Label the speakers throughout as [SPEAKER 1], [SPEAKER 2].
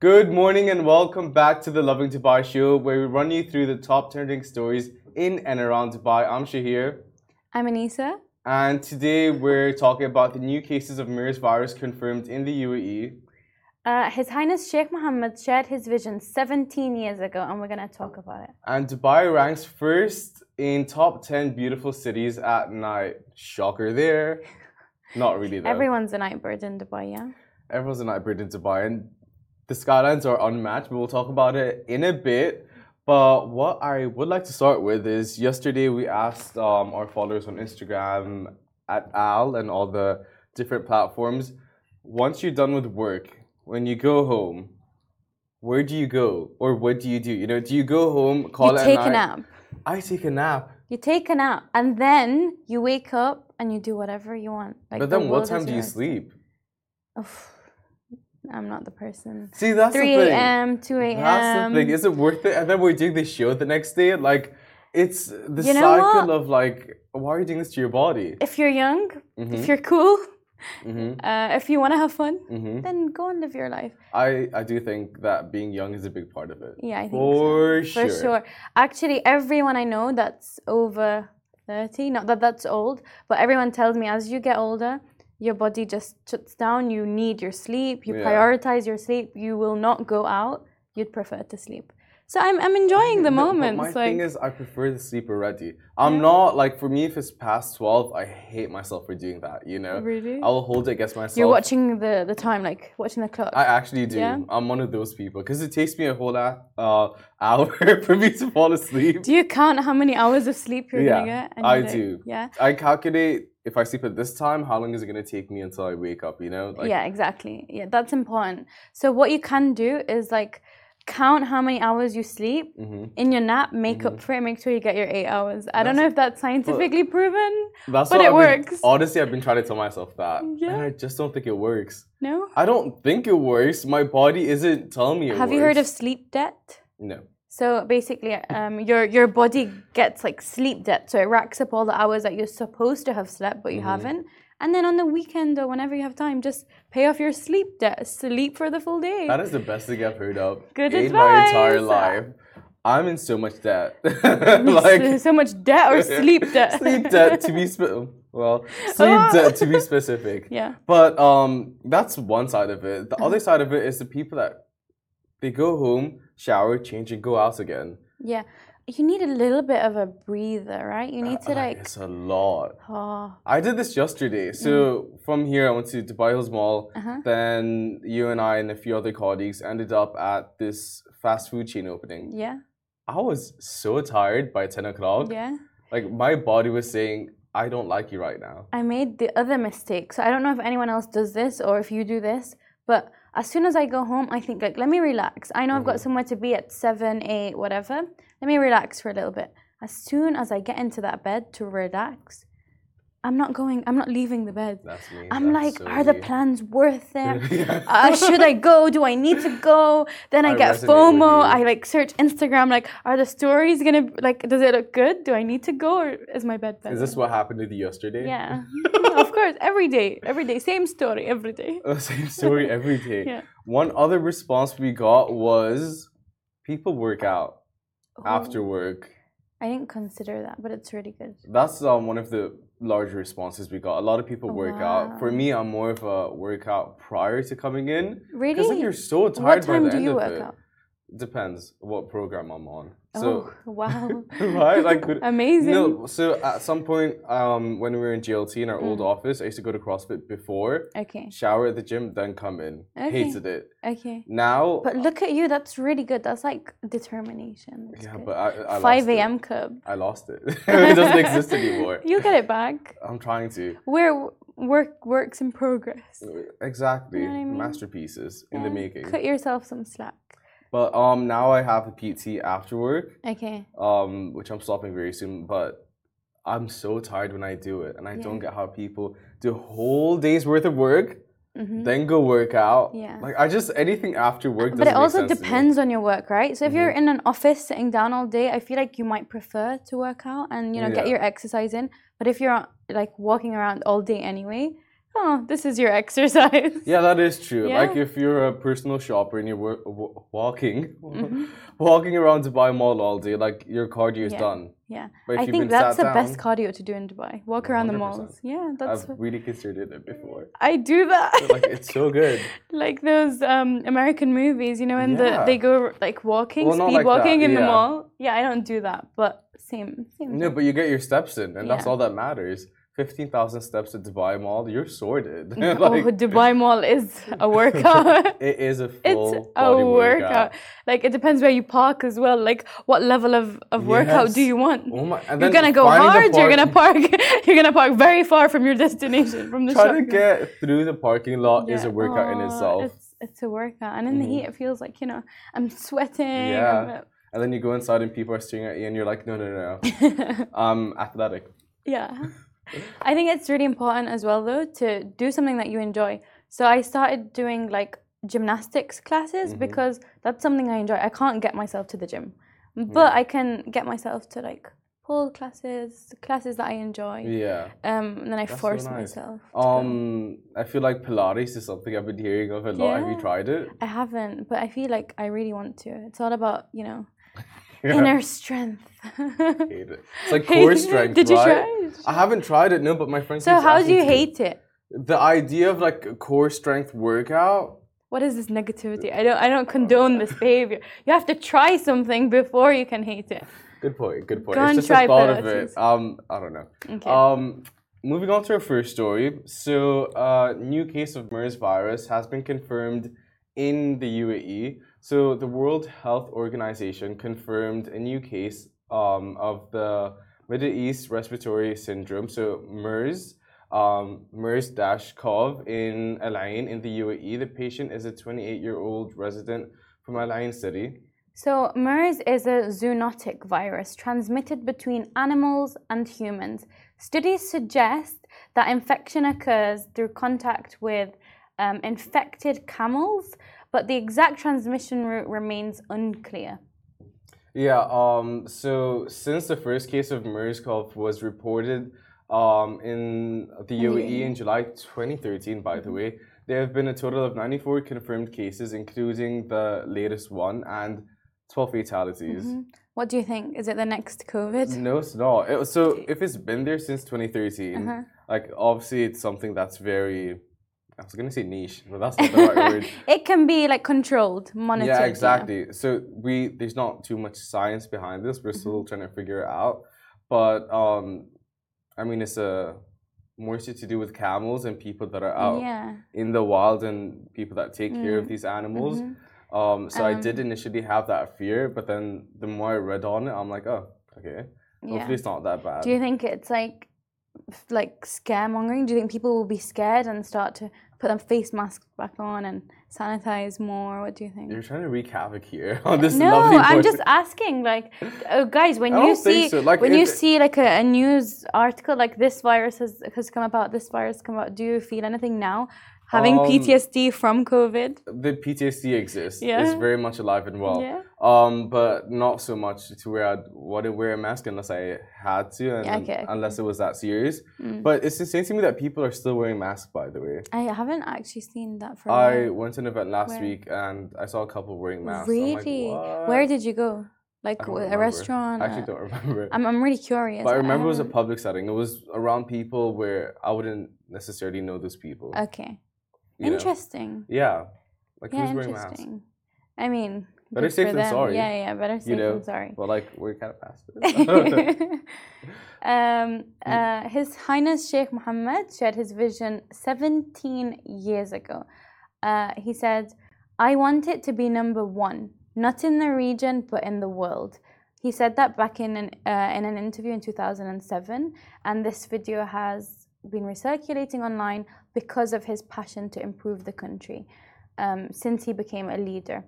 [SPEAKER 1] Good morning and welcome back to the Loving Dubai show, where we run you through the top trending stories in and around Dubai. I'm Shahir,
[SPEAKER 2] I'm Anisa.
[SPEAKER 1] and today we're talking about the new cases of MERS virus confirmed in the E. UAE.
[SPEAKER 2] Uh, His Highness Sheikh Mohammed shared his vision 17 years ago, and we're going to talk about it.
[SPEAKER 1] And Dubai ranks first in top 10 beautiful cities at night. Shocker there. Not really though.
[SPEAKER 2] Everyone's a night bird in Dubai, yeah?
[SPEAKER 1] Everyone's a night bird in Dubai, and the skylines are unmatched. We'll talk about it in a bit. But what I would like to start with is yesterday we asked um, our followers on Instagram at Al and all the different platforms once you're done with work, when you go home, where do you go or what do you do? You know, do you go home, call
[SPEAKER 2] you
[SPEAKER 1] it
[SPEAKER 2] take
[SPEAKER 1] night?
[SPEAKER 2] a nap.
[SPEAKER 1] I take a nap.
[SPEAKER 2] You take a nap, and then you wake up and you do whatever you want. Like,
[SPEAKER 1] But
[SPEAKER 2] the
[SPEAKER 1] then what
[SPEAKER 2] world
[SPEAKER 1] time
[SPEAKER 2] is
[SPEAKER 1] do you
[SPEAKER 2] yours.
[SPEAKER 1] sleep?
[SPEAKER 2] Oof. I'm not the person.
[SPEAKER 1] See, that's
[SPEAKER 2] 3
[SPEAKER 1] the thing.
[SPEAKER 2] a.m., 2 a.m.
[SPEAKER 1] That's the thing. Is it worth it? And then we're doing this show the next day. Like, it's the
[SPEAKER 2] You know
[SPEAKER 1] cycle
[SPEAKER 2] what?
[SPEAKER 1] of like, why are you doing this to your body?
[SPEAKER 2] If you're young,
[SPEAKER 1] Mhm.
[SPEAKER 2] if you're cool,
[SPEAKER 1] hmm
[SPEAKER 2] uh, if you want to have fun,
[SPEAKER 1] hmm
[SPEAKER 2] then go and live your life.
[SPEAKER 1] I I do think that being young is a big part of it.
[SPEAKER 2] Yeah, I think so.
[SPEAKER 1] For sure.
[SPEAKER 2] For sure. Actually, everyone I know that's over 30, not that that's old, but everyone tells me as you get older, your body just shuts down. You need your sleep. You
[SPEAKER 1] Yeah.
[SPEAKER 2] prioritize your sleep. You will not go out. You'd prefer to sleep. So I'm, I'm enjoying the
[SPEAKER 1] No, but
[SPEAKER 2] moments.
[SPEAKER 1] my
[SPEAKER 2] like,
[SPEAKER 1] thing is, I prefer to sleep already. I'm not like for me. If it's past twelve, I hate myself for doing that. You know,
[SPEAKER 2] Really?
[SPEAKER 1] I will hold it against myself.
[SPEAKER 2] you're watching the, the time, like watching the clock.
[SPEAKER 1] I actually do.
[SPEAKER 2] Yeah?
[SPEAKER 1] I'm one of those people because it takes me a whole a- uh, hour for me to fall asleep.
[SPEAKER 2] Do you count how many hours of sleep you're going to
[SPEAKER 1] Yeah,
[SPEAKER 2] get? And
[SPEAKER 1] I
[SPEAKER 2] you're like-
[SPEAKER 1] do.
[SPEAKER 2] Yeah.
[SPEAKER 1] I calculate if I sleep at this time, how long is it going to take me until I wake up, you know? Like,
[SPEAKER 2] yeah, exactly. Yeah, that's important. So what you can do is like count how many hours you sleep
[SPEAKER 1] mhm.
[SPEAKER 2] in your nap, make
[SPEAKER 1] Mm-hmm.
[SPEAKER 2] up for it, make sure you get your eight hours. I don't know if that's scientifically proven.
[SPEAKER 1] That's
[SPEAKER 2] But
[SPEAKER 1] what
[SPEAKER 2] it
[SPEAKER 1] I've been-
[SPEAKER 2] works.
[SPEAKER 1] honestly, I've been trying to tell myself that. And
[SPEAKER 2] Yeah.
[SPEAKER 1] I just don't think it works.
[SPEAKER 2] No.
[SPEAKER 1] I don't think it works. My body isn't telling me it
[SPEAKER 2] Have
[SPEAKER 1] works.
[SPEAKER 2] you heard of sleep debt?
[SPEAKER 1] No.
[SPEAKER 2] So basically, um, your your body gets like sleep debt, so it racks up all the hours that you're supposed to have slept but you
[SPEAKER 1] Mm-hmm.
[SPEAKER 2] haven't. And then on the weekend or whenever you have time, just pay off your sleep debt. Sleep for the full day.
[SPEAKER 1] That is the best thing I've heard of
[SPEAKER 2] Good
[SPEAKER 1] in my entire
[SPEAKER 2] advice.
[SPEAKER 1] life. I'm in so much debt.
[SPEAKER 2] so, so much debt or sleep debt.
[SPEAKER 1] sleep debt to be spe- well, sleep
[SPEAKER 2] Ah.
[SPEAKER 1] debt to be specific.
[SPEAKER 2] Yeah.
[SPEAKER 1] But um, that's one side of it. The
[SPEAKER 2] Mm-hmm.
[SPEAKER 1] other side of it is the people that they go home, shower, change, and go out again.
[SPEAKER 2] Yeah. You need a little bit of a breather, right?
[SPEAKER 1] Uh,
[SPEAKER 2] You need to like,
[SPEAKER 1] it's a lot.
[SPEAKER 2] oh,
[SPEAKER 1] I did this yesterday. So
[SPEAKER 2] Mm-hmm.
[SPEAKER 1] from here, I went to Dubai Hills Mall.
[SPEAKER 2] Uh-huh.
[SPEAKER 1] Then you and I and a few other colleagues ended up at this fast food chain opening.
[SPEAKER 2] yeah,
[SPEAKER 1] I was so tired by ten o'clock.
[SPEAKER 2] yeah.
[SPEAKER 1] Like my body was saying, I don't like you right now.
[SPEAKER 2] I made the other mistake. So I don't know if anyone else does this or if you do this, but as soon as I go home, I think like, let me relax. I know I've
[SPEAKER 1] Mm-hmm.
[SPEAKER 2] got somewhere to be at seven, eight, whatever. Let me relax for a little bit. As soon as I get into that bed to relax, I'm not going. I'm not leaving the bed.
[SPEAKER 1] That's me.
[SPEAKER 2] I'm
[SPEAKER 1] That's
[SPEAKER 2] like,
[SPEAKER 1] so
[SPEAKER 2] are the
[SPEAKER 1] me.
[SPEAKER 2] plans worth it?
[SPEAKER 1] Yeah.
[SPEAKER 2] uh, should I go? Do I need to go? Then I,
[SPEAKER 1] I
[SPEAKER 2] get
[SPEAKER 1] resonate with
[SPEAKER 2] FOMO.
[SPEAKER 1] you.
[SPEAKER 2] I like search Instagram. Like, are the stories gonna like? Does it look good? Do I need to go or is my bed better?
[SPEAKER 1] Is this what happened to you yesterday?
[SPEAKER 2] yeah, of course. Every day, every day, same story every day.
[SPEAKER 1] Uh, Same story every day.
[SPEAKER 2] Yeah.
[SPEAKER 1] One other response we got was people work out after work.
[SPEAKER 2] Oh, I didn't consider that, but it's really good.
[SPEAKER 1] That's um, one of the large responses we got. A lot of people work out. For me, I'm more of a workout prior to coming in. Because
[SPEAKER 2] Really?
[SPEAKER 1] like, you're so tired
[SPEAKER 2] what
[SPEAKER 1] by
[SPEAKER 2] time
[SPEAKER 1] the
[SPEAKER 2] do
[SPEAKER 1] end
[SPEAKER 2] you
[SPEAKER 1] of
[SPEAKER 2] work
[SPEAKER 1] it.
[SPEAKER 2] out?
[SPEAKER 1] Depends what program I'm on. So,
[SPEAKER 2] oh wow!
[SPEAKER 1] right? Like, could-
[SPEAKER 2] Amazing.
[SPEAKER 1] No, so at some point um, when we were in GLT in our old office, I used to go to CrossFit before,
[SPEAKER 2] Mm. Okay.
[SPEAKER 1] shower at the gym, then come in.
[SPEAKER 2] Okay.
[SPEAKER 1] Hated it.
[SPEAKER 2] Okay.
[SPEAKER 1] Now,
[SPEAKER 2] But look at you. That's really good. That's like determination. That's
[SPEAKER 1] yeah,
[SPEAKER 2] good.
[SPEAKER 1] but I, I lost
[SPEAKER 2] Five
[SPEAKER 1] it.
[SPEAKER 2] a.m. cub.
[SPEAKER 1] I lost it. it doesn't exist anymore.
[SPEAKER 2] You'll get it back.
[SPEAKER 1] I'm trying to.
[SPEAKER 2] Where w- work works in progress.
[SPEAKER 1] Exactly.
[SPEAKER 2] what I mean?
[SPEAKER 1] Masterpieces in the making.
[SPEAKER 2] Cut yourself some slack.
[SPEAKER 1] But um now I have a PT after work,
[SPEAKER 2] Okay.
[SPEAKER 1] um, which I'm stopping very soon, but I'm so tired when I do it and I don't get how people do a whole day's worth of work, then go work out.
[SPEAKER 2] Mm-hmm. Yeah.
[SPEAKER 1] Like I just anything after work doesn't
[SPEAKER 2] But it
[SPEAKER 1] make
[SPEAKER 2] also
[SPEAKER 1] sense to me. Mm-hmm.
[SPEAKER 2] depends on your work, right? So if you're in an office sitting down all day, I feel like you might prefer to work out and you know get
[SPEAKER 1] Yeah.
[SPEAKER 2] your exercise in. But if you're like walking around all day anyway, oh, this is your exercise.
[SPEAKER 1] Yeah, that is true.
[SPEAKER 2] Yeah.
[SPEAKER 1] Like if you're a personal shopper and you're wa- wa- walking,
[SPEAKER 2] Mm-hmm.
[SPEAKER 1] walking around Dubai Mall all day, like your cardio is
[SPEAKER 2] Yeah.
[SPEAKER 1] done.
[SPEAKER 2] Yeah.
[SPEAKER 1] But if
[SPEAKER 2] I
[SPEAKER 1] you've
[SPEAKER 2] think
[SPEAKER 1] been
[SPEAKER 2] that's
[SPEAKER 1] sat
[SPEAKER 2] the best
[SPEAKER 1] down-
[SPEAKER 2] cardio to do in Dubai. Walk around the
[SPEAKER 1] 100%.
[SPEAKER 2] malls. Yeah, that's
[SPEAKER 1] I've
[SPEAKER 2] what
[SPEAKER 1] really considered it before.
[SPEAKER 2] I do that.
[SPEAKER 1] Like it's so good.
[SPEAKER 2] like those um, American movies, you know, when
[SPEAKER 1] Yeah.
[SPEAKER 2] the, they go like walking,
[SPEAKER 1] Well, not
[SPEAKER 2] speed
[SPEAKER 1] like that,
[SPEAKER 2] walking in the
[SPEAKER 1] yeah.
[SPEAKER 2] mall. Yeah, I don't do that, but same, same.
[SPEAKER 1] No, but you get your steps in, and that's
[SPEAKER 2] Yeah.
[SPEAKER 1] all that matters. Fifteen thousand steps at Dubai Mall, you're sorted. Like,
[SPEAKER 2] oh, Dubai Mall is a workout.
[SPEAKER 1] It is a full
[SPEAKER 2] It's a
[SPEAKER 1] body
[SPEAKER 2] workout. Like it depends where you park as well. Like what level of, of workout do
[SPEAKER 1] Yes.
[SPEAKER 2] you want?
[SPEAKER 1] Oh my! And
[SPEAKER 2] you're
[SPEAKER 1] then
[SPEAKER 2] gonna go
[SPEAKER 1] finding the
[SPEAKER 2] hard. You're gonna
[SPEAKER 1] parking-
[SPEAKER 2] park. You're gonna park very far from your destination from the
[SPEAKER 1] Trying
[SPEAKER 2] shop.
[SPEAKER 1] to get through the parking lot is
[SPEAKER 2] Yeah.
[SPEAKER 1] a workout in
[SPEAKER 2] Oh,
[SPEAKER 1] itself. Mm-hmm.
[SPEAKER 2] It's, it's a workout, and in the heat, it feels like you know I'm sweating.
[SPEAKER 1] Yeah.
[SPEAKER 2] I'm-
[SPEAKER 1] And then you go inside and people are staring at you, and you're like, no, no, no, I'm athletic.
[SPEAKER 2] Yeah. I think it's really important as well, though, to do something that you enjoy. So I started doing like gymnastics classes
[SPEAKER 1] Mm-hmm.
[SPEAKER 2] because that's something I enjoy. I can't get myself to the gym, but I can get myself to like pull classes, classes that I enjoy.
[SPEAKER 1] Yeah.
[SPEAKER 2] Um, and then I
[SPEAKER 1] so
[SPEAKER 2] force
[SPEAKER 1] nice.
[SPEAKER 2] myself. to go.
[SPEAKER 1] Um, I feel like Pilates is something I've been hearing of a lot. Have you
[SPEAKER 2] Yeah.
[SPEAKER 1] tried it?
[SPEAKER 2] I haven't, but I feel like I really want to. It's all about, you know,
[SPEAKER 1] Yeah.
[SPEAKER 2] inner strength.
[SPEAKER 1] Hate it. It's like core
[SPEAKER 2] Hate it.
[SPEAKER 1] strength.
[SPEAKER 2] Did you
[SPEAKER 1] right?
[SPEAKER 2] try it?
[SPEAKER 1] I haven't tried it, no, but my friends.
[SPEAKER 2] so, how do you hate it?
[SPEAKER 1] the idea of like a core strength workout?
[SPEAKER 2] what is this negativity? I don't I don't condone this behavior. You have to try something before you can hate it.
[SPEAKER 1] Good point. Good point.
[SPEAKER 2] Go
[SPEAKER 1] it's
[SPEAKER 2] and
[SPEAKER 1] just the
[SPEAKER 2] try
[SPEAKER 1] thought of
[SPEAKER 2] Pilates.
[SPEAKER 1] it. Um, I don't know.
[SPEAKER 2] Okay.
[SPEAKER 1] Um, moving on to our first story. So, uh, new case of MERS virus has been confirmed in the UAE. So, the World Health Organization confirmed a new case um, of the Middle East Respiratory Syndrome. So, MERS. Um, MERS CoV in Al Ain in the UAE. The patient is a 28 year old resident from Al Ain City.
[SPEAKER 2] So MERS is a zoonotic virus transmitted between animals and humans. Studies suggest that infection occurs through contact with um, infected camels, but the exact transmission route remains unclear.
[SPEAKER 1] Yeah, um, so since the first case of MERS-CoV was reported um, in the UAE in July 2013, by the way, there have been a total of 94 confirmed cases, including the latest one, and 12 fatalities.
[SPEAKER 2] Mm-hmm. What do you think? Is it the next COVID?
[SPEAKER 1] No, it's not. It, was- so if it's been there since 2013, like obviously it's something that's very, I was gonna say niche, but that's not the right word.
[SPEAKER 2] It can be like controlled, monitored.
[SPEAKER 1] Yeah, exactly. So we there's not too much science behind this. We're still
[SPEAKER 2] Mm-hmm.
[SPEAKER 1] trying to figure it out. But um, I mean, it's a more so to do with camels and people that are out
[SPEAKER 2] Yeah. Mm-hmm.
[SPEAKER 1] in the wild and people that take care of these animals. Um, so I did initially have that fear, but then the more I read on it, I'm like, oh, okay. Hopefully, it's not that bad.
[SPEAKER 2] Do you think it's like f- like scaremongering? Do you think people will be scared and start to put their face masks back on and sanitize more? What do you think?
[SPEAKER 1] You're trying to wreak havoc here on this
[SPEAKER 2] No,
[SPEAKER 1] lovely.
[SPEAKER 2] I'm
[SPEAKER 1] board.
[SPEAKER 2] just asking. Like, uh, guys, when
[SPEAKER 1] I
[SPEAKER 2] you
[SPEAKER 1] don't think
[SPEAKER 2] see
[SPEAKER 1] so. Like,
[SPEAKER 2] when
[SPEAKER 1] if
[SPEAKER 2] you
[SPEAKER 1] it-
[SPEAKER 2] see like a, a news article like this virus has has come about, this virus has come out. Do you feel anything now? Having
[SPEAKER 1] Um,
[SPEAKER 2] PTSD from COVID.
[SPEAKER 1] the PTSD exists. It's
[SPEAKER 2] Yeah.
[SPEAKER 1] very much alive and well.
[SPEAKER 2] Yeah.
[SPEAKER 1] Um, but not so much to where I'd want to wear a mask unless I had to, and
[SPEAKER 2] Yeah, okay.
[SPEAKER 1] unless it was that serious. But it's insane to me that people are still wearing masks. By the way,
[SPEAKER 2] Mm. I haven't actually seen that for. a
[SPEAKER 1] I
[SPEAKER 2] while.
[SPEAKER 1] went to an event last
[SPEAKER 2] Where?
[SPEAKER 1] week and I saw a couple wearing masks. I'm like,
[SPEAKER 2] really.
[SPEAKER 1] "What?"
[SPEAKER 2] Where did you go? Like
[SPEAKER 1] I don't
[SPEAKER 2] w- a
[SPEAKER 1] remember.
[SPEAKER 2] restaurant?
[SPEAKER 1] I
[SPEAKER 2] a-
[SPEAKER 1] actually don't remember.
[SPEAKER 2] I'm, I'm really curious. Um,
[SPEAKER 1] but I remember it was a
[SPEAKER 2] haven't-
[SPEAKER 1] public setting. It was around people where I wouldn't necessarily know those people.
[SPEAKER 2] Okay.
[SPEAKER 1] you know?
[SPEAKER 2] Interesting.
[SPEAKER 1] Yeah. Like
[SPEAKER 2] Yeah,
[SPEAKER 1] who's wearing masks?
[SPEAKER 2] interesting. I mean,
[SPEAKER 1] Better
[SPEAKER 2] good
[SPEAKER 1] safe
[SPEAKER 2] for
[SPEAKER 1] than
[SPEAKER 2] them.
[SPEAKER 1] sorry,
[SPEAKER 2] Yeah, yeah, better safe
[SPEAKER 1] know?
[SPEAKER 2] than sorry.
[SPEAKER 1] But like we're kind of past it.
[SPEAKER 2] um, uh, His Highness Sheikh Mohammed shared his vision 17 years ago. Uh, he said, I want it to be number one, not in the region, but in the world. He said that back in an, uh, in an interview in 2007, and this video has been recirculating online because of his passion to improve the country um, since he became a leader.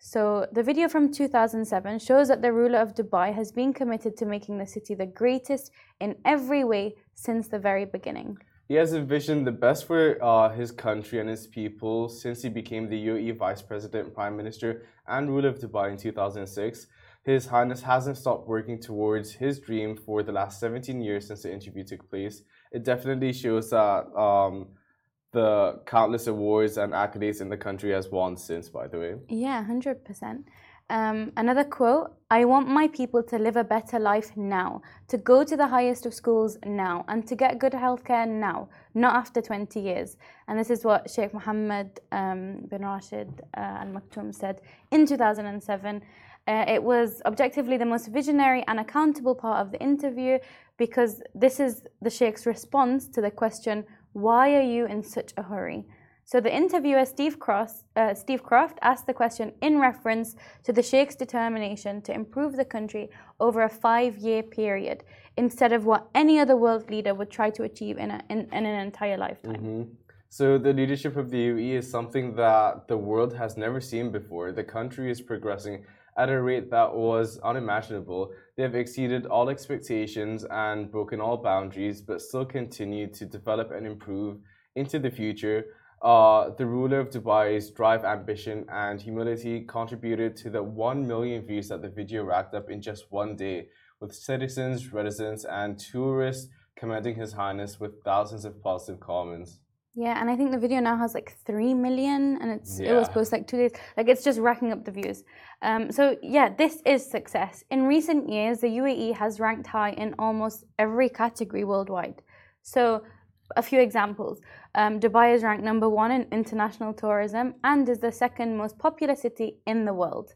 [SPEAKER 2] So, the video from 2007 shows that the ruler of Dubai has been committed to making the city the greatest in every way since the very beginning.
[SPEAKER 1] He has envisioned the best for uh, his country and his people since he became the UAE Vice President, Prime Minister, and ruler of Dubai in 2006. His Highness hasn't stopped working towards his dream for the last 17 years since the interview took place, it definitely shows that um, the countless awards and accolades in the country has won since, by the way.
[SPEAKER 2] Yeah, 100%. Um, another quote I want my people to live a better life now, to go to the highest of schools now, and to get good healthcare now, not after 20 years. And this is what Sheikh Mohammed um, bin Rashid uh, Al Maktoum said in 2007. Uh, it was objectively the most visionary and accountable part of the interview because this is the Sheikh's response to the question, Why are you in such a hurry? So the interviewer Steve Cross, uh, Steve Croft asked the question in reference to the Sheikh's determination to improve the country over a five-year period, instead of what any other world leader would try to achieve in, a, in, in an entire lifetime.
[SPEAKER 1] Mm-hmm. So the leadership of the UAE is something that the world has never seen before. The country is progressing at a rate that was unimaginable. They have exceeded all expectations and broken all boundaries, but still continue to develop and improve into the future. Uh, the ruler of Dubai's drive, ambition, and humility contributed to the 1 million views that the video racked up in just one day, with citizens, residents, and tourists commending His Highness with thousands of positive comments.
[SPEAKER 2] Yeah, and I think the video now has like three million, and it's it was
[SPEAKER 1] Yeah.
[SPEAKER 2] posted like two days. Like it's just racking up the views. Um, so yeah, this is success. In recent years, the UAE has ranked high in almost every category worldwide. So a few examples: um, Dubai is ranked number one in international tourism and is the second most popular city in the world.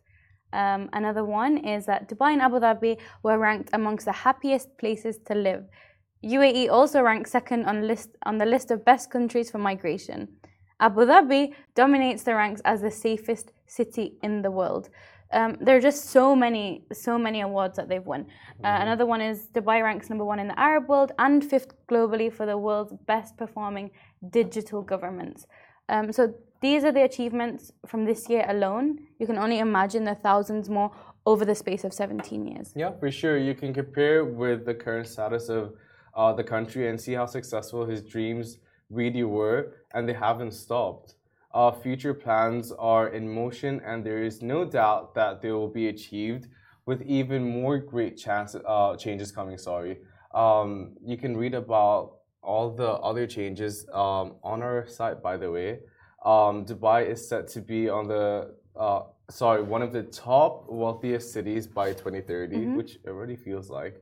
[SPEAKER 2] Um, another one is that Dubai and Abu Dhabi were ranked amongst the happiest places to live. UAE also ranks second on list on the list of best countries for migration. Abu Dhabi dominates the ranks as the safest city in the world. Um, there are just so many, so many awards that they've won. Uh, another one is Dubai ranks number one in the Arab world and fifth globally for the world's best performing digital governments. Um, so these are the achievements from this year alone. You can only imagine the thousands more over the space of 17 years.
[SPEAKER 1] Yeah, for sure. You can compare with the current status of uh, the country and see how successful his dreams really were, and they haven't stopped. Our future plans are in motion, and there is no doubt that they will be achieved with even more great chance, uh, changes coming. Sorry. Um, you can read about all the other changes um, on our site, by the way. Um, Dubai is set to be on the uh, sorry one of the top wealthiest cities by 2030, which already feels like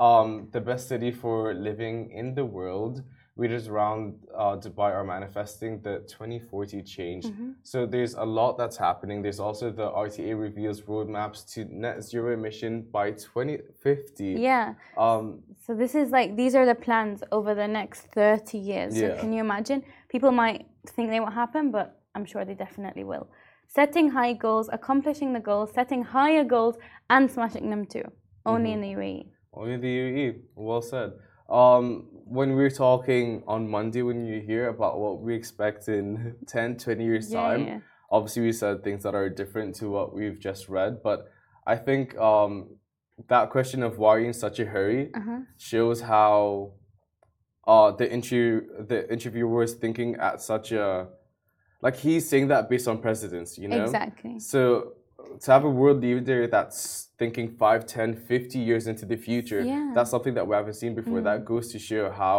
[SPEAKER 1] um, the best city for living in the world. Readers around uh, Dubai are manifesting the 2040 change. So there's a lot that's happening. There's also the RTA reveals roadmaps to net zero emission by 2050.
[SPEAKER 2] Yeah.
[SPEAKER 1] Um,
[SPEAKER 2] So this is like these are the plans over the next 30 years. So
[SPEAKER 1] Yeah.
[SPEAKER 2] can you imagine? People might think they won't happen, but I'm sure they definitely will. Setting high goals, accomplishing the goals, setting higher goals, and smashing them too. Only
[SPEAKER 1] Mm-hmm.
[SPEAKER 2] in the E. UAE.
[SPEAKER 1] Only the UAE. Well said. Um, when we were talking on Monday, when you hear about what we expect in 10, 20 years'
[SPEAKER 2] Yeah,
[SPEAKER 1] time,
[SPEAKER 2] yeah.
[SPEAKER 1] obviously we said things that are different to what we've just read. But I think um, that question of why are you in such a hurry
[SPEAKER 2] Uh-huh.
[SPEAKER 1] shows how uh, the, inter- the interviewer is thinking at such a. Like he's saying that based on precedence, you know?
[SPEAKER 2] Exactly.
[SPEAKER 1] So to have a world leader that's thinking 5, 10, 50 years into the future,
[SPEAKER 2] Yeah. Mm.
[SPEAKER 1] that's something that we haven't seen before. That goes to show how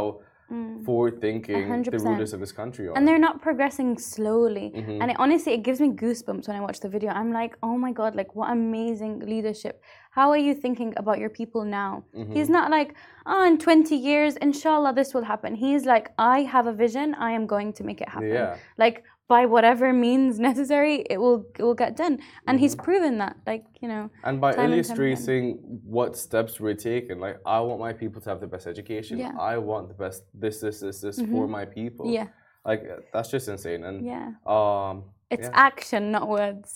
[SPEAKER 1] forward thinking the
[SPEAKER 2] 100%.
[SPEAKER 1] rulers of this country are.
[SPEAKER 2] And they're not progressing slowly.
[SPEAKER 1] Mm-hmm.
[SPEAKER 2] And it honestly, it gives me goosebumps when I watch the video. I'm like, oh my God, like what amazing leadership. How are you thinking about your people now?
[SPEAKER 1] Mm-hmm.
[SPEAKER 2] He's not like, oh, in 20 years, inshallah, this will happen. He's like, I have a vision. I am going to make it happen.
[SPEAKER 1] Yeah.
[SPEAKER 2] Like by whatever means necessary, it will, it will get done. And
[SPEAKER 1] Mm-hmm.
[SPEAKER 2] he's proven that, like, you know.
[SPEAKER 1] And by
[SPEAKER 2] time and time again.
[SPEAKER 1] illustrating what steps were taken, like I want my people to have the best education.
[SPEAKER 2] Yeah. Mm-hmm.
[SPEAKER 1] I want the best this, this, this, this for my people.
[SPEAKER 2] Yeah.
[SPEAKER 1] Like that's just insane. And
[SPEAKER 2] Yeah.
[SPEAKER 1] um
[SPEAKER 2] It's
[SPEAKER 1] yeah.
[SPEAKER 2] action, not words.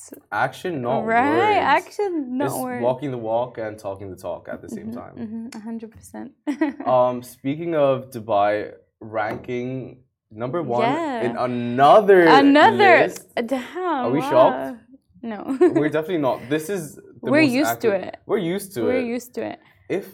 [SPEAKER 1] action, not
[SPEAKER 2] right?
[SPEAKER 1] words.
[SPEAKER 2] Action, not
[SPEAKER 1] It's
[SPEAKER 2] words.
[SPEAKER 1] walking the walk and talking the talk at the same time.
[SPEAKER 2] Mhm, 100%.
[SPEAKER 1] Um, speaking of Dubai ranking number one
[SPEAKER 2] Yeah.
[SPEAKER 1] in another
[SPEAKER 2] Another
[SPEAKER 1] list,
[SPEAKER 2] damn.
[SPEAKER 1] Are we
[SPEAKER 2] wow.
[SPEAKER 1] shocked?
[SPEAKER 2] No.
[SPEAKER 1] we're definitely not. This is the
[SPEAKER 2] We're
[SPEAKER 1] most
[SPEAKER 2] used to
[SPEAKER 1] accurate-
[SPEAKER 2] it.
[SPEAKER 1] We're used to
[SPEAKER 2] We're
[SPEAKER 1] it.
[SPEAKER 2] used to it.
[SPEAKER 1] if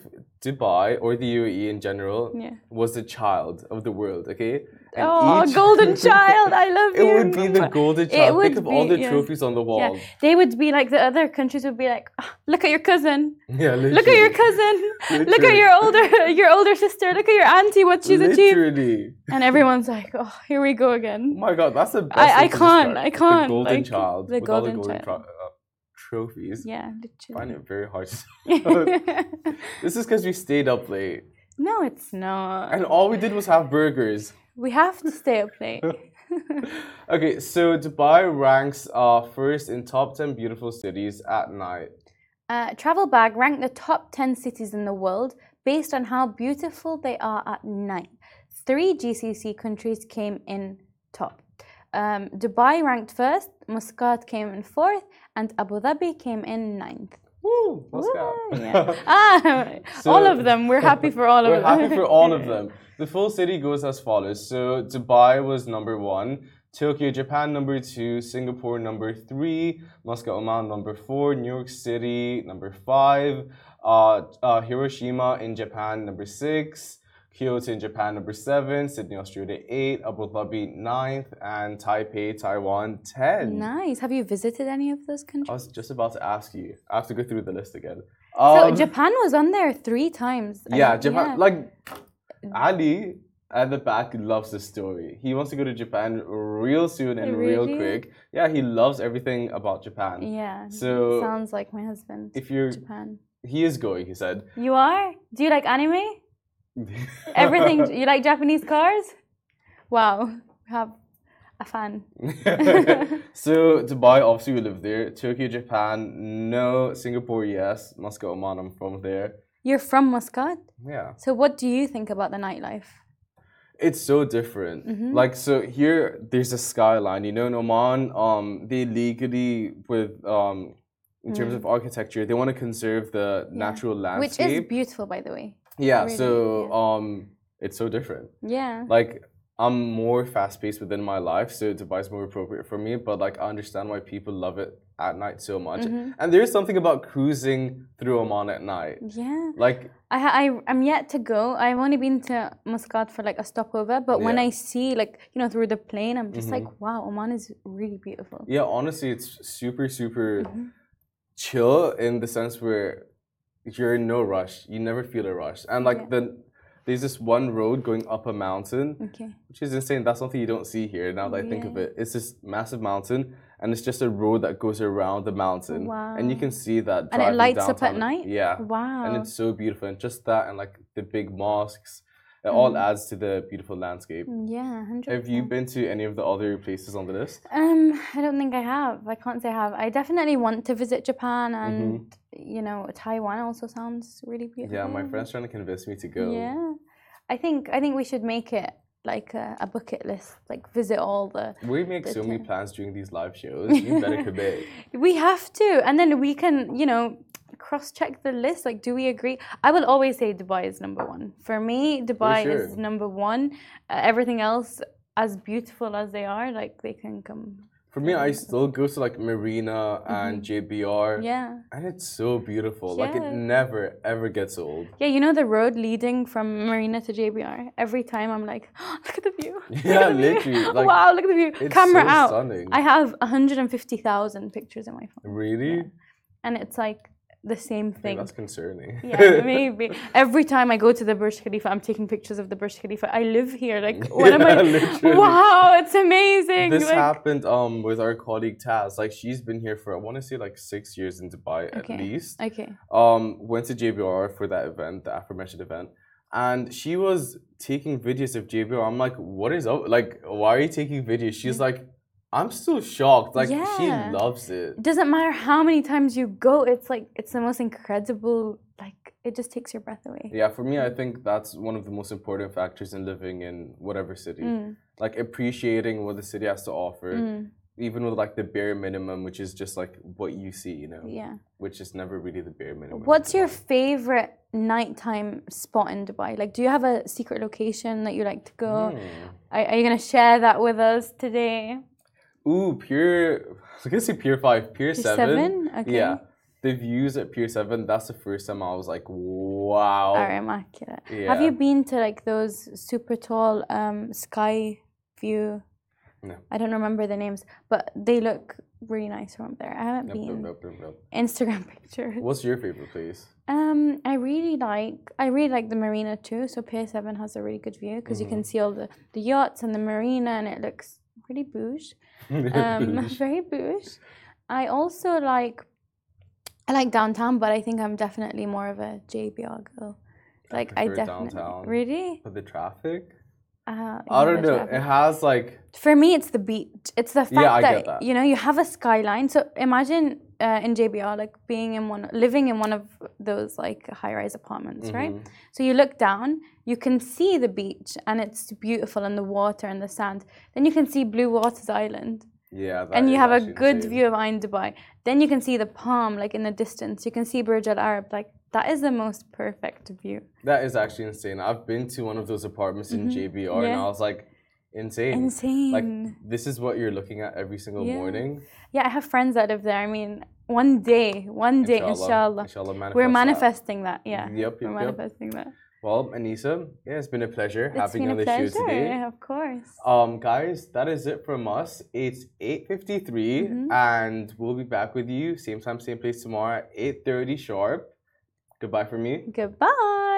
[SPEAKER 1] Dubai or the UAE in general
[SPEAKER 2] Yeah.
[SPEAKER 1] was the child of the world, okay, and
[SPEAKER 2] oh,
[SPEAKER 1] each-
[SPEAKER 2] golden child, I love
[SPEAKER 1] It
[SPEAKER 2] you.
[SPEAKER 1] would be the golden child. Think
[SPEAKER 2] would
[SPEAKER 1] of all
[SPEAKER 2] be,
[SPEAKER 1] the
[SPEAKER 2] yeah.
[SPEAKER 1] trophies on the
[SPEAKER 2] Yeah,
[SPEAKER 1] wall.
[SPEAKER 2] they would be like the other countries would be like, "Ah, look at your cousin,
[SPEAKER 1] Yeah,
[SPEAKER 2] look at your
[SPEAKER 1] literally.
[SPEAKER 2] cousin, look at
[SPEAKER 1] Literally.
[SPEAKER 2] your older your older sister, look at your auntie, what she's achieved,
[SPEAKER 1] Literally.
[SPEAKER 2] and everyone's like, oh, here we go
[SPEAKER 1] Oh
[SPEAKER 2] again.
[SPEAKER 1] my god, that's the best.
[SPEAKER 2] I- I
[SPEAKER 1] way to
[SPEAKER 2] can't,
[SPEAKER 1] describe
[SPEAKER 2] I
[SPEAKER 1] it.
[SPEAKER 2] can't,
[SPEAKER 1] The golden
[SPEAKER 2] like,
[SPEAKER 1] child. with
[SPEAKER 2] the
[SPEAKER 1] all the
[SPEAKER 2] golden
[SPEAKER 1] golden
[SPEAKER 2] child.
[SPEAKER 1] tro- uh, trophies. I
[SPEAKER 2] Yeah,
[SPEAKER 1] find
[SPEAKER 2] literally.
[SPEAKER 1] it very hard. it- this is because we stayed up late,
[SPEAKER 2] no, it's not.
[SPEAKER 1] and all we did was have burgers.
[SPEAKER 2] We have to stay up late.
[SPEAKER 1] Okay, so Dubai ranks uh, first in top ten beautiful cities at night.
[SPEAKER 2] Uh, Travel Bag ranked the top 10 cities in the world based on how beautiful they are at night. Three GCC countries came in top. Um, Dubai ranked first, Muscat came in fourth, and Abu Dhabi came in ninth.
[SPEAKER 1] Woo, let's go.
[SPEAKER 2] Woo, yeah. ah,
[SPEAKER 1] So-
[SPEAKER 2] all of them. We're happy for all
[SPEAKER 1] We're
[SPEAKER 2] of them.
[SPEAKER 1] happy for all of them. The full city goes as follows. So Dubai was number one, Tokyo, Japan number two, Singapore number three, Moscow, Oman number four, New York City number five, uh, uh, Hiroshima in Japan number six, Kyoto in Japan number seven, Sydney, Australia eight, Abu Dhabi ninth, and Taipei, Taiwan ten.
[SPEAKER 2] Nice. Have you visited any of those
[SPEAKER 1] I
[SPEAKER 2] countries?
[SPEAKER 1] was just about to ask you. I have to go through the list again. Um,
[SPEAKER 2] so Japan was on there three times. I-
[SPEAKER 1] Uh, Yeah, Japan. Like
[SPEAKER 2] Mm.
[SPEAKER 1] Ali at the back loves the story. He wants to go to Japan real soon and real
[SPEAKER 2] Really?
[SPEAKER 1] quick. Yeah, he loves everything about Japan.
[SPEAKER 2] yeah.
[SPEAKER 1] So-
[SPEAKER 2] sounds like my husband.
[SPEAKER 1] If you're,
[SPEAKER 2] Japan.
[SPEAKER 1] he is going. He said.
[SPEAKER 2] You are? Do you like anime? Everything. you like Japanese cars? Wow. We have a fan.
[SPEAKER 1] so Dubai, obviously we live there. Tokyo, Japan, no. Singapore, yes. Moscow, Oman, I'm from there.
[SPEAKER 2] You're from Muscat.
[SPEAKER 1] Yeah.
[SPEAKER 2] So, what do you think about the nightlife?
[SPEAKER 1] It's so different.
[SPEAKER 2] Mm-hmm.
[SPEAKER 1] Like so here there's a skyline, you know, in Oman, um, they legally with um in terms of architecture, they want to conserve the natural
[SPEAKER 2] Mm. Which is
[SPEAKER 1] landscape.
[SPEAKER 2] beautiful, by the way.
[SPEAKER 1] yeah,
[SPEAKER 2] really,
[SPEAKER 1] so um it's so different.
[SPEAKER 2] Yeah.
[SPEAKER 1] Like I'm more fast paced within my life, so Dubai's more appropriate for me, but like I understand why people love it at night so much.
[SPEAKER 2] Mm-hmm.
[SPEAKER 1] And there is something about cruising through Oman at night.
[SPEAKER 2] Yeah.
[SPEAKER 1] Like
[SPEAKER 2] I, ha- I, I'm yet to go. I've only been to Muscat for like a stopover, but when
[SPEAKER 1] Yeah. Mm-hmm.
[SPEAKER 2] I see, like, you know, through the plane, I'm just like, wow, Oman is really beautiful. Mm-hmm.
[SPEAKER 1] Yeah, honestly, it's super, super chill in the sense where you're in no rush. You never feel a rush. And like the there's this one road going up a mountain,
[SPEAKER 2] Okay.
[SPEAKER 1] which is insane. That's something you don't see here now that I think of it. It's this massive mountain and it's just a road that goes around the mountain. And you
[SPEAKER 2] Oh, Wow.
[SPEAKER 1] can see that
[SPEAKER 2] And it
[SPEAKER 1] driving
[SPEAKER 2] lights up at
[SPEAKER 1] downtown.
[SPEAKER 2] night?
[SPEAKER 1] Yeah.
[SPEAKER 2] Wow.
[SPEAKER 1] And it's so beautiful. And just that and like the big mosques. It all
[SPEAKER 2] Mm.
[SPEAKER 1] adds to the beautiful landscape.
[SPEAKER 2] yeah, 100%.
[SPEAKER 1] Have you been to any of the other places on the list?
[SPEAKER 2] Um, I don't think I have. I can't say I have. I definitely want to visit Japan and you know Taiwan also sounds really beautiful.
[SPEAKER 1] Mm-hmm. Yeah, my friend's trying to convince me to go.
[SPEAKER 2] Yeah, I think I think we should make it like a, a bucket list, like visit all the.
[SPEAKER 1] We make so many plans during these live shows. You better commit.
[SPEAKER 2] We have to, and then we can you know cross check the list. Like, do we agree? I will always say Dubai is number one for me. Dubai is
[SPEAKER 1] sure.
[SPEAKER 2] number one. Uh, everything else, as beautiful as they are, like they can come.
[SPEAKER 1] For me, I still go to like Marina and JBR.
[SPEAKER 2] Mm-hmm. Yeah.
[SPEAKER 1] And it's so beautiful. Like it
[SPEAKER 2] Yeah.
[SPEAKER 1] never ever gets old.
[SPEAKER 2] Yeah, you know the road leading from Marina to JBR. Every time I'm like, look at the view. Look
[SPEAKER 1] Yeah,
[SPEAKER 2] at the view.
[SPEAKER 1] literally, like,
[SPEAKER 2] wow, look at the view.
[SPEAKER 1] it's
[SPEAKER 2] Camera
[SPEAKER 1] so
[SPEAKER 2] out.
[SPEAKER 1] stunning.
[SPEAKER 2] I have 150,000 pictures in my phone,
[SPEAKER 1] Really?
[SPEAKER 2] and it's like the same thing.
[SPEAKER 1] That's concerning.
[SPEAKER 2] yeah, maybe every time I go to the Burj Khalifa, I'm taking pictures of the Burj Khalifa. I live here. Like, what am
[SPEAKER 1] Yeah,
[SPEAKER 2] I?
[SPEAKER 1] literally.
[SPEAKER 2] Wow, it's amazing.
[SPEAKER 1] This
[SPEAKER 2] like,
[SPEAKER 1] happened um with our colleague Taz. Like she's been here for I want to say like six years in Dubai
[SPEAKER 2] Okay.
[SPEAKER 1] at least.
[SPEAKER 2] okay.
[SPEAKER 1] um, went to JBR for that event, the aforementioned event, and she was taking videos of JBR. I'm like, what is up? Like, why are you taking videos? She's like, I'm still shocked. Like,
[SPEAKER 2] Yeah.
[SPEAKER 1] she loves it.
[SPEAKER 2] Doesn't matter how many times you go. It's like it's the most incredible. Like, it just takes your breath away.
[SPEAKER 1] Yeah, for me, I think that's one of the most important factors in living in whatever city.
[SPEAKER 2] Mm.
[SPEAKER 1] Like appreciating what the city has to offer, even with like the bare minimum, which is just like what you see, you know,
[SPEAKER 2] yeah.
[SPEAKER 1] which is never really the bare minimum.
[SPEAKER 2] What's your favorite nighttime spot in Dubai? Like, do you have a secret location that you like to go?
[SPEAKER 1] Hmm.
[SPEAKER 2] Are, are you going to share that with us today?
[SPEAKER 1] Ooh, Pier. I was gonna say Pier Five, Pier, Seven.
[SPEAKER 2] seven? Okay.
[SPEAKER 1] Yeah, the views at Pier Seven. That's the first time I was like, wow.
[SPEAKER 2] Are immaculate. Have you
[SPEAKER 1] Oh. Yeah.
[SPEAKER 2] been to like those super tall um, sky few.
[SPEAKER 1] No.
[SPEAKER 2] I don't remember the names, but they look really nice from there. I haven't
[SPEAKER 1] Nope, nope,
[SPEAKER 2] been
[SPEAKER 1] nope, nope, nope.
[SPEAKER 2] Instagram pictures.
[SPEAKER 1] What's your favorite place?
[SPEAKER 2] Um, I really like I really like the marina too. So Pier Seven has a really good view because you can
[SPEAKER 1] Mm-hmm.
[SPEAKER 2] see all the the yachts and the marina, and it looks pretty bouge. Um, very bouge. I also like I like downtown, but I think I'm definitely more of a JBR girl. Like I,
[SPEAKER 1] prefer
[SPEAKER 2] definitely
[SPEAKER 1] downtown.
[SPEAKER 2] really.
[SPEAKER 1] But the traffic?
[SPEAKER 2] Uh,
[SPEAKER 1] I
[SPEAKER 2] yeah,
[SPEAKER 1] don't
[SPEAKER 2] the
[SPEAKER 1] know.
[SPEAKER 2] traffic.
[SPEAKER 1] It has like
[SPEAKER 2] For me, it's the beat. It's the fact
[SPEAKER 1] I get
[SPEAKER 2] that,
[SPEAKER 1] that.
[SPEAKER 2] you know you have a skyline. So imagine uh, in JBR, like being in one, living in one of those like high-rise apartments, right?
[SPEAKER 1] Mm-hmm.
[SPEAKER 2] So you look down, you can see the beach, and it's beautiful, and the water and the sand. Then you can see Blue Waters Island,
[SPEAKER 1] yeah. that
[SPEAKER 2] and you
[SPEAKER 1] is
[SPEAKER 2] have a
[SPEAKER 1] actually the
[SPEAKER 2] good
[SPEAKER 1] same.
[SPEAKER 2] view of Ain Dubai. Then you can see the palm, like in the distance. You can see Burj Al Arab. Like that is the most perfect view.
[SPEAKER 1] That is actually insane. I've been to one of those apartments in JBR and
[SPEAKER 2] Mm-hmm. Yeah.
[SPEAKER 1] I was like, insane.
[SPEAKER 2] Insane.
[SPEAKER 1] Like this is what you're looking at every single
[SPEAKER 2] Yeah.
[SPEAKER 1] morning.
[SPEAKER 2] Yeah, I have friends that live there. I mean, one day, one day,
[SPEAKER 1] Inshallah.
[SPEAKER 2] inshallah.
[SPEAKER 1] Inshallah, manifest
[SPEAKER 2] We're
[SPEAKER 1] that.
[SPEAKER 2] manifesting that. Yeah.
[SPEAKER 1] Yep,
[SPEAKER 2] We're
[SPEAKER 1] yep, yep.
[SPEAKER 2] manifesting that.
[SPEAKER 1] Well, Anissa, yeah, it's been a pleasure
[SPEAKER 2] It's
[SPEAKER 1] having
[SPEAKER 2] been
[SPEAKER 1] you on
[SPEAKER 2] a
[SPEAKER 1] the
[SPEAKER 2] pleasure.
[SPEAKER 1] show today.
[SPEAKER 2] Of course.
[SPEAKER 1] Um, guys, that is it from us. It's 8.53 and we'll be back with you same time, same place tomorrow at 8.30 sharp. Goodbye from me.
[SPEAKER 2] Goodbye.